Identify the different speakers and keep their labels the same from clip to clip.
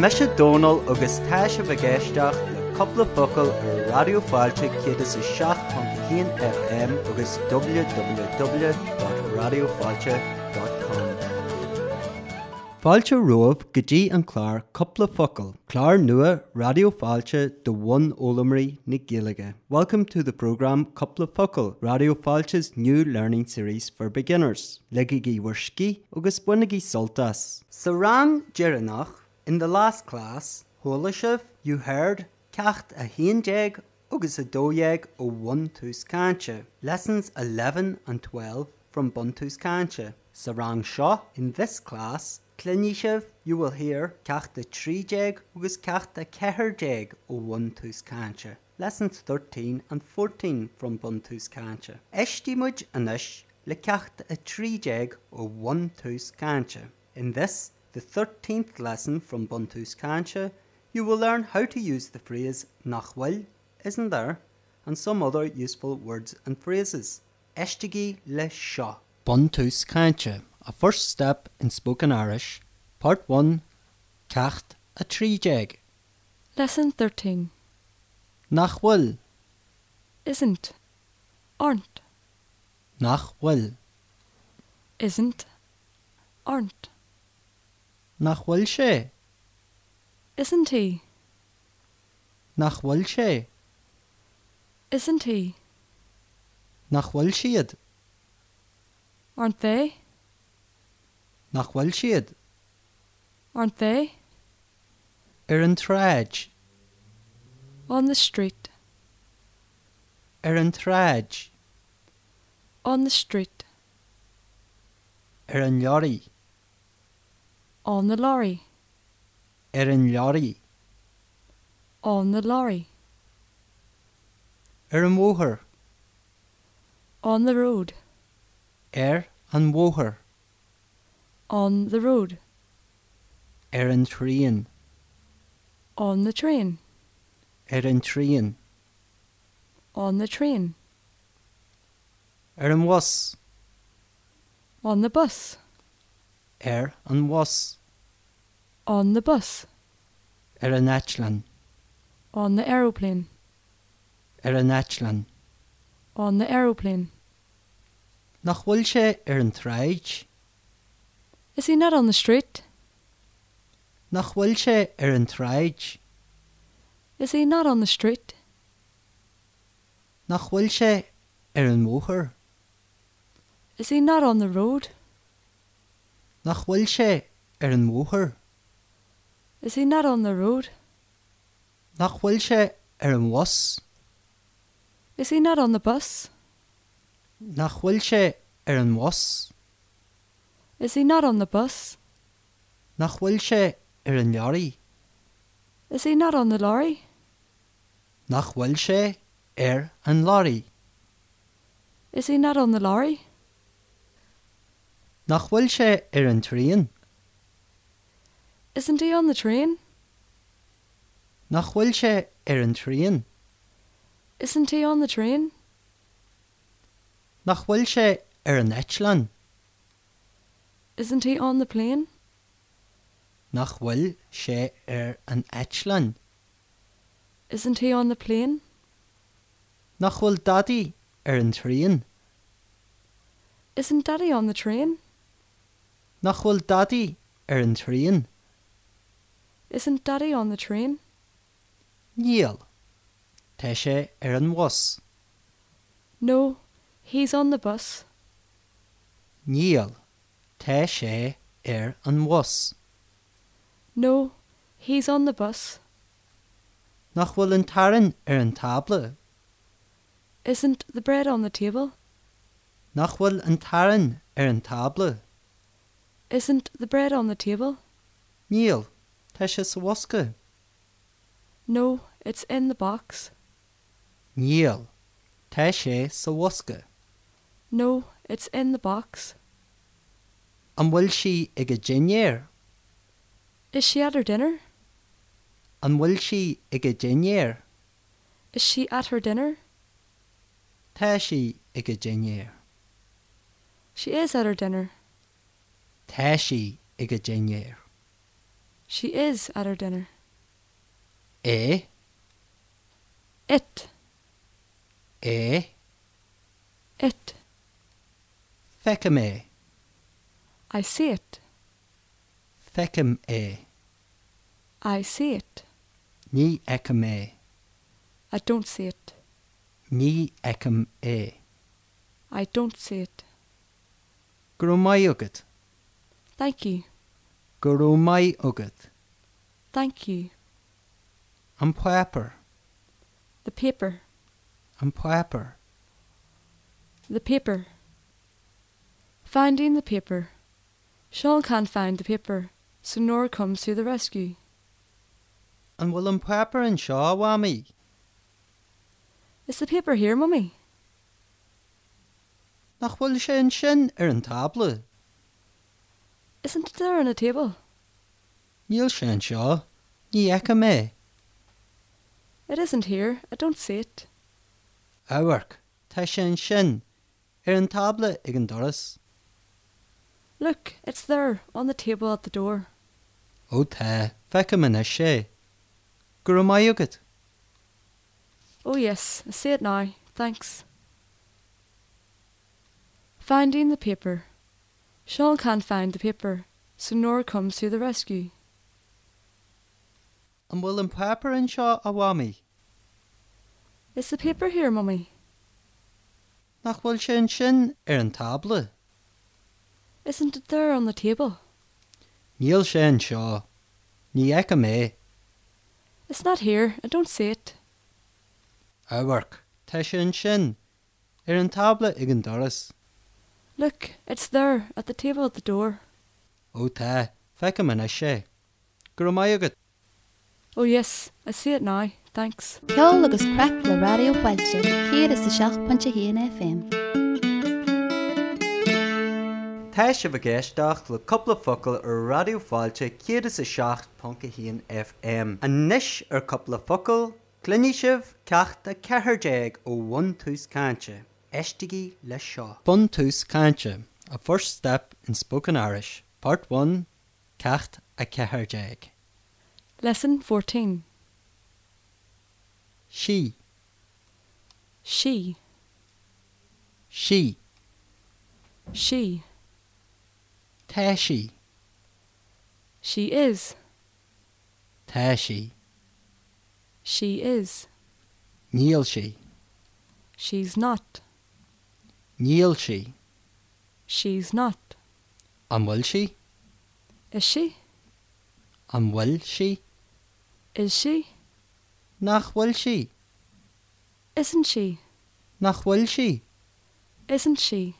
Speaker 1: me se dóal agus tá se bhgéisteach le coppla focail ar radioáilte chéad is 16.1 FM agus www.radioáilte.com. Fáilte roimh gotí an chláir coppla focail, chláir nua radioáilte do bhain ólamarí na giige. Welcome to the program Coppla Focail, Radioáilte's new learning series for beginners, legaí bhuiiscí agus bunaí soltas. Sa ran dearannach in the last class, Holisih you heard cecht a haondeag agus a dóéag ó bhaúscáinte, lessons 11 and 12 from Buntuskancha. Sarang Shah in this class, Clinishev, you will hear Kahta Trijeg Ugus Kahta Keherjeg O Buntuskancha. Lessons 13 and 14 from Buntuskancha. Eshtimuj Anish Le Kahta a Trijeg O Buntuskancha. In this, the 13th lesson from Buntuskancha, you will learn how to use the phrase Nachwil, isn't there? and some other useful words and phrases. Eshtigi le sha. Bontus Kancha, a first step in spoken Irish, part 1, Kacht a tree jeg.
Speaker 2: Lesson 13.
Speaker 1: Nach will,
Speaker 2: Isn't. Aren't.
Speaker 1: nach will,
Speaker 2: Isn't. Aren't.
Speaker 1: nach will she,
Speaker 2: Isn't he?
Speaker 1: nach will she,
Speaker 2: Isn't he?
Speaker 1: nach will sheed,
Speaker 2: Aren't they?
Speaker 1: nach will sheed,
Speaker 2: Aren't they?
Speaker 1: er an traj,
Speaker 2: On the street.
Speaker 1: er an traj,
Speaker 2: On the street.
Speaker 1: er an lorry,
Speaker 2: On the lorry.
Speaker 1: er an lorry,
Speaker 2: On the lorry.
Speaker 1: er an woher,
Speaker 2: On the road.
Speaker 1: er an woher,
Speaker 2: On the road.
Speaker 1: er an train,
Speaker 2: On the train.
Speaker 1: er an train,
Speaker 2: On the train.
Speaker 1: er an was,
Speaker 2: On the bus.
Speaker 1: er an was,
Speaker 2: On the bus.
Speaker 1: er an achlan,
Speaker 2: On the aeroplane.
Speaker 1: er an achlan.
Speaker 2: On the aeroplane.
Speaker 1: nach bhfuil sé ar an tráid,
Speaker 2: Is he not on the street?
Speaker 1: nach bhfuil sé ar an tráid,
Speaker 2: Is he not on the street?
Speaker 1: nach bhfuil sé ar an móthir,
Speaker 2: Is he not on the road?
Speaker 1: nach bhfuil sé ar an móthir,
Speaker 2: Is he not on the road?
Speaker 1: nach bhfuil sé ar an was,
Speaker 2: Is he not on the bus?
Speaker 1: nach bhfuil sé ar an was,
Speaker 2: Is he not on the bus?
Speaker 1: nach bhfuil sé ar an learí,
Speaker 2: Is he not on the lorry?
Speaker 1: nach Er bhfuil sé ar an láí,
Speaker 2: Is he not on the lorry?
Speaker 1: nach bhfuil sé ar an tríon,
Speaker 2: Isn't he on the train?
Speaker 1: nach bhfuil sé ar an tríon,
Speaker 2: Isn't he on the train?
Speaker 1: nach bhfuil sé ar an Elan,
Speaker 2: Isn't he on the plane?
Speaker 1: nach bhfuil sé ar an Elan,
Speaker 2: Isn't he on the plane?
Speaker 1: nach bhfuil dadaí ar an tríon.
Speaker 2: Isn't Daddy on the train?
Speaker 1: nach bhfuil dadaí ar an tríon
Speaker 2: Isn't Daddy on the train?
Speaker 1: níl. Tá sé ar an was
Speaker 2: No, he's on the bus.
Speaker 1: níl Tá sé ar an was
Speaker 2: No, he's on the bus.
Speaker 1: nach bhfuil an taran ar an tabla
Speaker 2: Isn't the bread on the table?
Speaker 1: nach bhfuil an taran ar an tabla
Speaker 2: Isn't the bread on the table?
Speaker 1: níl Tá sé sa wasca
Speaker 2: No, it's in the box.
Speaker 1: níl Tá sé sa wasca
Speaker 2: No, it's in the box.
Speaker 1: an bhfuil si ag a dénéir
Speaker 2: Is she at her dinner?
Speaker 1: an bhfuil si ag a dénéir
Speaker 2: Is she at her dinner?
Speaker 1: Tá si ag a dénéir
Speaker 2: She is at her dinner.
Speaker 1: Tá si ag a dénéir
Speaker 2: She is at her dinner.
Speaker 1: É
Speaker 2: It,
Speaker 1: é
Speaker 2: it,
Speaker 1: fecha mé
Speaker 2: I see it,
Speaker 1: fecham é
Speaker 2: I see it,
Speaker 1: ní echa mé
Speaker 2: I don't see it,
Speaker 1: ní echam é
Speaker 2: I don't see it.
Speaker 1: Gu mai agad
Speaker 2: Thank you,
Speaker 1: gur mai agad
Speaker 2: thank you.
Speaker 1: an puepper
Speaker 2: The paper,
Speaker 1: an puepper
Speaker 2: the paper. Finding the paper. Sean can't find the paper, so Nora comes to the rescue.
Speaker 1: an bhfuil an puepper an seo bhhaí
Speaker 2: Is the paper here, Mummy?
Speaker 1: nach bhfuil sé an sin ar er an tabla
Speaker 2: Isn't it there on a table?
Speaker 1: níl sé an seo ní echa mé
Speaker 2: It isn't here, I don't see it.
Speaker 1: áhar Tá sé an sin ar Er an tabla ag an doras
Speaker 2: Look, it's there, on the table at the door.
Speaker 1: ó the fecha man is sé gur mai agad
Speaker 2: Oh, yes, I see it now. Thanks. Finding the paper. Sean can't find the paper, so Nora comes to the rescue.
Speaker 1: an bhfuil an puepper an seo a bhhaí
Speaker 2: Is the paper here, Mummy?
Speaker 1: nach bhfuil sé an sin ar er an tabla
Speaker 2: Isn't it there on the table?
Speaker 1: níl sé an seo ní echa mé
Speaker 2: It's not here, I don't see it.
Speaker 1: áhar Tá sé an sin ar er an tabla ag an doras
Speaker 2: Look, it's there, at the table at the door.
Speaker 1: ó the fecha man is sé gur mai agad
Speaker 2: Oh, yes, I see it now. Thanks.
Speaker 3: Ceol agus craic le radiohailte, céad is sa seach pontsa híana FM.
Speaker 1: Táis se bhgéisteach le coppla focail ar radioáilte céad is a seach pontca híon FM. An níis ar coppla focail, cluní sibh ceachta cethirdeag ó bhain túús cáinte, eisteí le seo. Bun túús cáinte, a first step in spoken Irish, Part 1, cecht a cethirdeag.
Speaker 2: Lesson 14.
Speaker 1: Si,
Speaker 2: She,
Speaker 1: si,
Speaker 2: she,
Speaker 1: teisi,
Speaker 2: she is,
Speaker 1: teisi,
Speaker 2: she is,
Speaker 1: níl si,
Speaker 2: she's not,
Speaker 1: níl si,
Speaker 2: she's not.
Speaker 1: an bhfuil si,
Speaker 2: Is she?
Speaker 1: an bhfuil si,
Speaker 2: Is she?
Speaker 1: nach bhfuil si,
Speaker 2: Isn't she?
Speaker 1: nach bhfuil si,
Speaker 2: Isn't she?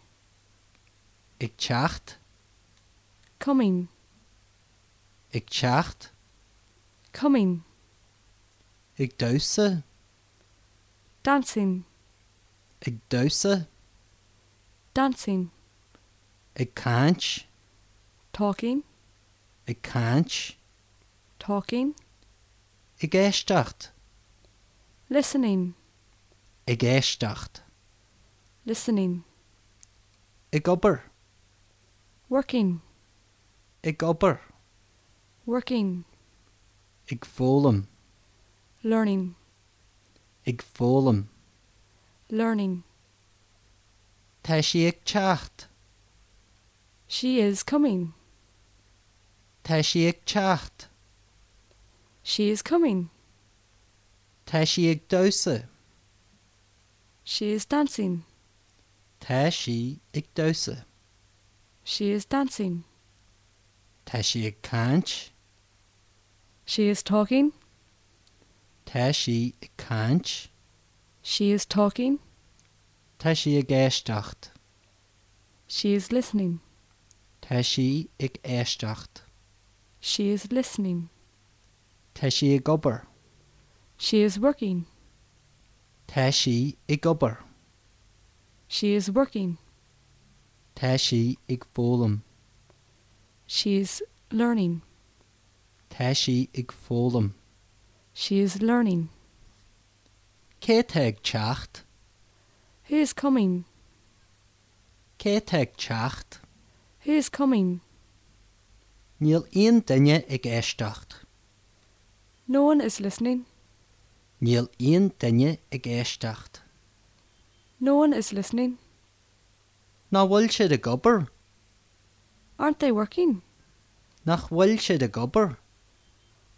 Speaker 1: ag teacht,
Speaker 2: Coming,
Speaker 1: Ig techt,
Speaker 2: coming,
Speaker 1: ag dose,
Speaker 2: dancing,
Speaker 1: ag dose,
Speaker 2: dancing,
Speaker 1: ag cáint,
Speaker 2: talking,
Speaker 1: ag cáint,
Speaker 2: talking,
Speaker 1: ag éistecht,
Speaker 2: listening,
Speaker 1: ag éistecht,
Speaker 2: listening,
Speaker 1: ag obair,
Speaker 2: working,
Speaker 1: ag obair,
Speaker 2: working,
Speaker 1: ag fólam,
Speaker 2: learning,
Speaker 1: ag fólam,
Speaker 2: learning.
Speaker 1: Tá si ag techt,
Speaker 2: She is coming,
Speaker 1: Tá si ag techt,
Speaker 2: she is coming,
Speaker 1: Tá si ag dose,
Speaker 2: she is dancing,
Speaker 1: Tá si ag dose,
Speaker 2: she is dancing,
Speaker 1: Tá si ag cáint,
Speaker 2: she is talking,
Speaker 1: Tá si ag cáint,
Speaker 2: she is talking,
Speaker 1: Tá si ag éistecht,
Speaker 2: she is listening,
Speaker 1: Tá si ag éistecht,
Speaker 2: she is listening,
Speaker 1: Tá si ag obair,
Speaker 2: she is working,
Speaker 1: Tá si ag obair.
Speaker 2: she is working,
Speaker 1: Tá si ag fólam,
Speaker 2: she is learning,
Speaker 1: Tá si ag fólam.
Speaker 2: she is learning.
Speaker 1: Cé teag techt,
Speaker 2: Who is coming?
Speaker 1: Cé teag techt,
Speaker 2: Who is coming?
Speaker 1: Níl aon duine ag éistecht.
Speaker 2: No one is listening.
Speaker 1: Níl aon duine ag éistecht.
Speaker 2: No one is listening.
Speaker 1: Ná bhfuil siad a gobar
Speaker 2: Aren't they working?
Speaker 1: nach bhfuil siad a gobar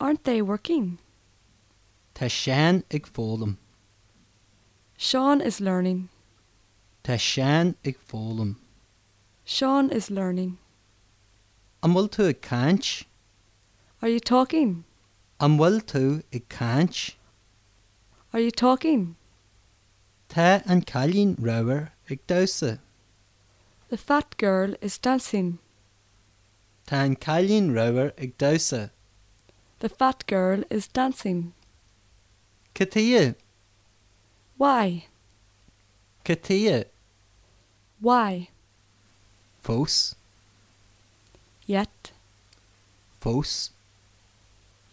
Speaker 2: Aren't they working?
Speaker 1: Tá sean ag fólam,
Speaker 2: Sean is learning.
Speaker 1: Tá sean ag fólam.
Speaker 2: Sean is learning.
Speaker 1: An bhfuil tú ag cáint,
Speaker 2: Are you talking?
Speaker 1: an bhfuil tú ag cáint,
Speaker 2: Are you talking?
Speaker 1: Tá an cailín roiir ag dosa,
Speaker 2: The fat girl is dancing.
Speaker 1: Tá an cailín roiir ag dosa,
Speaker 2: The fat girl is dancing.
Speaker 1: Catí,
Speaker 2: Why?
Speaker 1: catí,
Speaker 2: Why?
Speaker 1: fós,
Speaker 2: Yet,
Speaker 1: fós,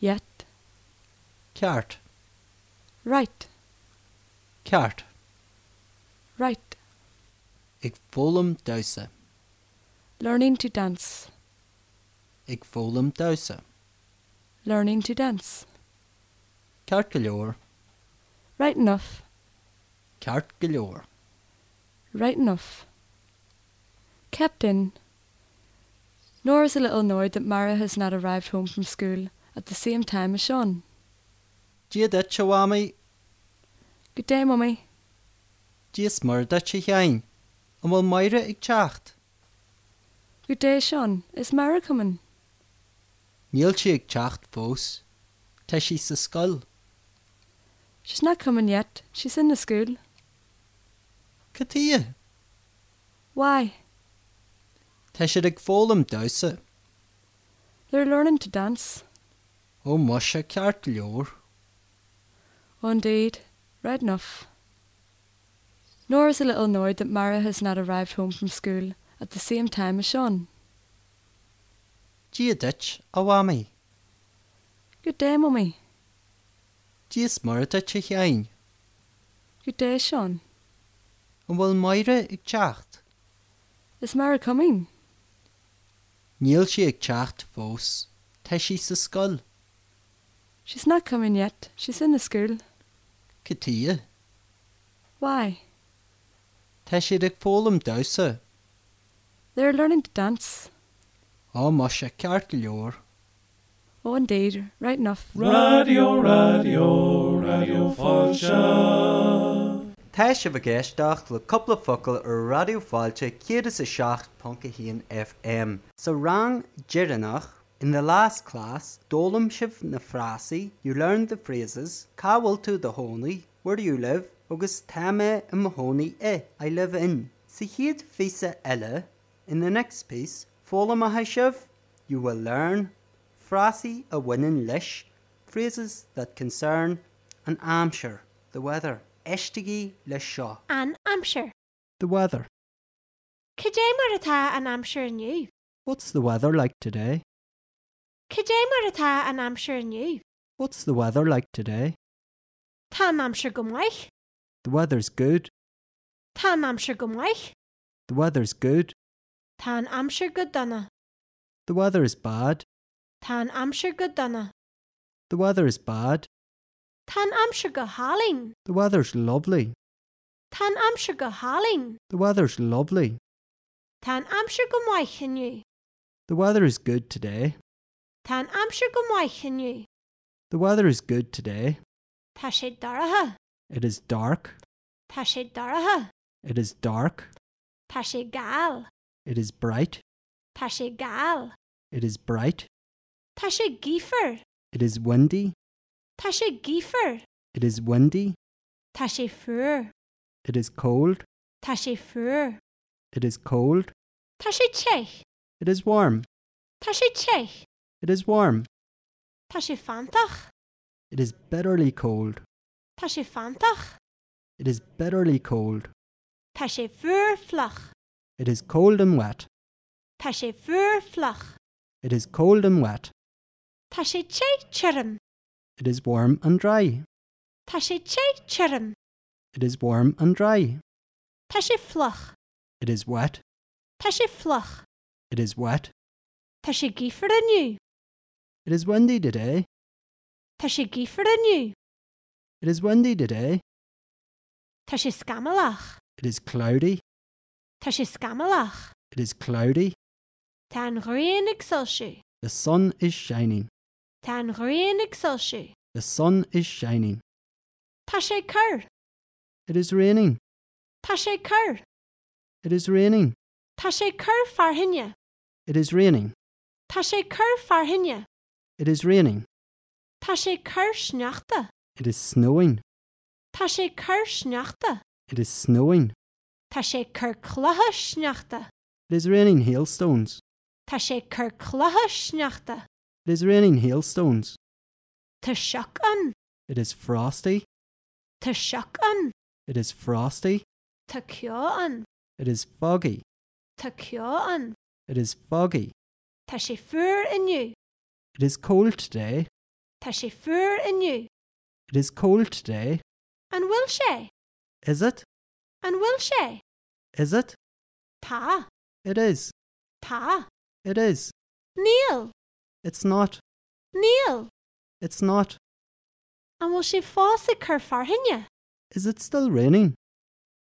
Speaker 2: yet,
Speaker 1: ceart,
Speaker 2: right,
Speaker 1: ceart,
Speaker 2: right.
Speaker 1: ag fólam dosa,
Speaker 2: Learning to dance.
Speaker 1: ag fólam dosa,
Speaker 2: Learning to dance.
Speaker 1: ceart go leor,
Speaker 2: Right enough.
Speaker 1: ceart go leor,
Speaker 2: Right enough. Kept in. Nora's a little annoyed that Mara has not arrived home from school at the same time as Sean.
Speaker 1: Dia de choámi
Speaker 2: Good day, Mummy.
Speaker 1: Díos mar de si chein, an bhfuil maire ag techt,
Speaker 2: Good day, Sean. Is Mara coming?
Speaker 1: Níl si ag techt fós, Tá si sa sscoil,
Speaker 2: She's not coming yet. She's in the school.
Speaker 1: Catí,
Speaker 2: Why?
Speaker 1: Tá si ag fólam dosa
Speaker 2: They're learning to dance.
Speaker 1: ó mu se ceart leor,
Speaker 2: Oh, indeed. Right enough. Nora's a little annoyed that Mara has not arrived home from school at the same time as Sean.
Speaker 1: Dí deit a bhhaí,
Speaker 2: Good day, Mummy.
Speaker 1: Díos mar de si chein,
Speaker 2: Good day, Sean.
Speaker 1: an bhfuil maire ag techt,
Speaker 2: Is Mara coming?
Speaker 1: Níl si ag techt fós, Tá si sa sscoil,
Speaker 2: She's not coming yet. She's in the school.
Speaker 1: Catí,
Speaker 2: Why?
Speaker 1: Tá si ag fólam dosa
Speaker 2: They're learning to dance.
Speaker 1: ó mu se ceart leor,
Speaker 2: Oh, indeed. Right enough.
Speaker 4: Radio, radio, radio falsche.
Speaker 1: Tá si bh ggéisteach le coppla focail ar radioáilte céad is a seach pontca híon FM. Sa rang deannach in the last class, dólam sibh na phrásaí, you learn the phrases, cáhfuil tú do tháinaí, where do you live, agus táime i mothnaí é, e, I live in. Sa chiad fisa eile, in the next piece, fóla mathe sibh, you will learn phrásaí a bhainean leis, phrases that concern an amsir, the weather. Eistigí le seo.
Speaker 5: an amsir.
Speaker 1: The weather.
Speaker 5: Cadé mar atá an amsir inniu.
Speaker 1: What's the weather like today?
Speaker 5: Cadé mar atá an amsir inniu.
Speaker 1: What's the weather like today?
Speaker 5: Tá an amsir go maiich,
Speaker 1: The weather's good.
Speaker 5: Tá an amsir go maiich,
Speaker 1: The weather's good.
Speaker 5: Tá an amsir go donna,
Speaker 1: The weather is bad.
Speaker 5: Tá an amsir go donna,
Speaker 1: The weather is bad.
Speaker 5: Tá an amsir go háling,
Speaker 1: The weather's lovely.
Speaker 5: Tá an amsir go háling,
Speaker 1: The weather's lovely.
Speaker 5: Tá an amsir go maiich inniu,
Speaker 1: The weather is good today.
Speaker 5: Tá an amsir go maiich inniu,
Speaker 1: The weather is good today.
Speaker 5: Tá sé darathe,
Speaker 1: It is dark.
Speaker 5: Tá sé darathe,
Speaker 1: It is dark.
Speaker 5: Tá sé gáil,
Speaker 1: It is bright.
Speaker 5: Tá sé gáil,
Speaker 1: It is bright.
Speaker 5: Tá sé gífer,
Speaker 1: It is windy.
Speaker 5: Tá sé gífer,
Speaker 1: It is windy.
Speaker 5: Tá sé fuair,
Speaker 1: It is cold.
Speaker 5: Tá sé fuair,
Speaker 1: It is cold.
Speaker 5: Tá sé teich.
Speaker 1: It is warm.
Speaker 5: Tá sé teich,
Speaker 1: It is warm.
Speaker 5: Tá sé fantach,
Speaker 1: It is bitterly cold.
Speaker 5: Tá sé fantach,
Speaker 1: It is bitterly cold.
Speaker 5: Tá sé furflach,
Speaker 1: It is cold and wet.
Speaker 5: Tá sé furflach,
Speaker 1: It is cold and wet.
Speaker 5: Tá sé téitchirm,
Speaker 1: It is warm and dry.
Speaker 5: Tá sé téitchirm,
Speaker 1: It is warm and dry.
Speaker 5: Tá sé floch,
Speaker 1: It is wet.
Speaker 5: Tá sé floch,
Speaker 1: It is wet.
Speaker 5: Tá sé gifar aniu.
Speaker 1: It is windy today.
Speaker 5: Tá sé gifar aniu.
Speaker 1: It is windy today.
Speaker 5: Tá sé scamalach.
Speaker 1: It is cloudy.
Speaker 5: Tá sé scamalach.
Speaker 1: It is cloudy.
Speaker 5: Tá an réananig solsú.
Speaker 1: The sun is shining.
Speaker 5: Tá an réananig solsú.
Speaker 1: The sun is shining.
Speaker 5: Tá sé cur.
Speaker 1: It is raining.
Speaker 5: Tá sé cur.
Speaker 1: It is raining.
Speaker 5: Tá sé cur farhinne.
Speaker 1: It is raining.
Speaker 5: Tá sé cur farhinne.
Speaker 1: It is raining.
Speaker 5: Tá sé cur sneachta.
Speaker 1: It is snowing.
Speaker 5: Tá sé cur sneachta.
Speaker 1: It is snowing.
Speaker 5: Tá sé cur chluthe sneachta.
Speaker 1: It is raining hailstones.
Speaker 5: Tá sé cur chluthe sneachta.
Speaker 1: It is raining hailstones.
Speaker 5: Tá seach an.
Speaker 1: It is frosty.
Speaker 5: Tá seach an.
Speaker 1: It is frosty.
Speaker 5: Tá ceo an.
Speaker 1: It is foggy.
Speaker 5: Tá ceo an.
Speaker 1: It is foggy.
Speaker 5: Tá sé fuair aniu.
Speaker 1: It is cold today.
Speaker 5: Tá sé fuair aniu.
Speaker 1: It is cold today.
Speaker 5: An bhfuil sé.
Speaker 1: Is it?
Speaker 5: An bhfuil sé.
Speaker 1: Is it?
Speaker 5: Tá.
Speaker 1: It is.
Speaker 5: Tá.
Speaker 1: It is.
Speaker 5: Níl.
Speaker 1: It's not.
Speaker 5: Níl.
Speaker 1: It's not.
Speaker 5: An bhfuil sé fása cur farhinne.
Speaker 1: Is it still raining?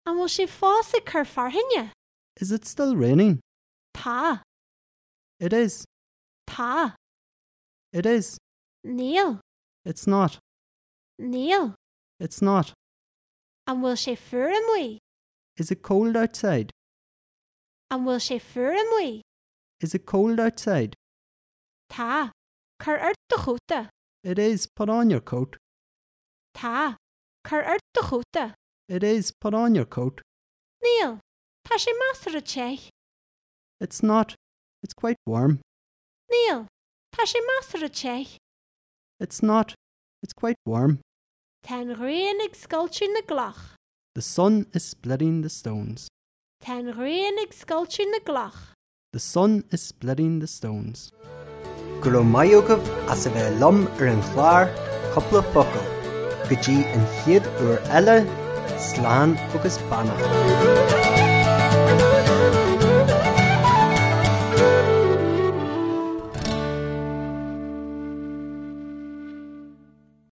Speaker 5: An bhfuil sé fása cur farhinne.
Speaker 1: Is it still raining?
Speaker 5: Tá.
Speaker 1: It is.
Speaker 5: Tá.
Speaker 1: It is.
Speaker 5: Níl.
Speaker 1: It's not.
Speaker 5: Níl.
Speaker 1: It's not.
Speaker 5: An bhfuil sé fuair amuí.
Speaker 1: Is it cold outside?
Speaker 5: An bhfuil sé fuair amuí.
Speaker 1: Is it cold outside?
Speaker 5: Tá. Cur ar do chuta.
Speaker 1: It is. Put on your coat.
Speaker 5: Tá. Cur ar do chuta.
Speaker 1: It is. Put on your coat.
Speaker 5: Níl. Tá sé measar a tseich.
Speaker 1: It's not. It's quite warm.
Speaker 5: Níl. Tá sé measar a tseich.
Speaker 1: It's not. It's quite warm.
Speaker 5: Tá an réananig sculptú na glach.
Speaker 1: The sun is splitting the stones.
Speaker 5: Tá an réananig sculptú na glach.
Speaker 1: The sun is splitting the stones. Go maiogah as a bheith lom ar an chláir coppla focail, go dtí an chiad uair eile, sláán agus banach.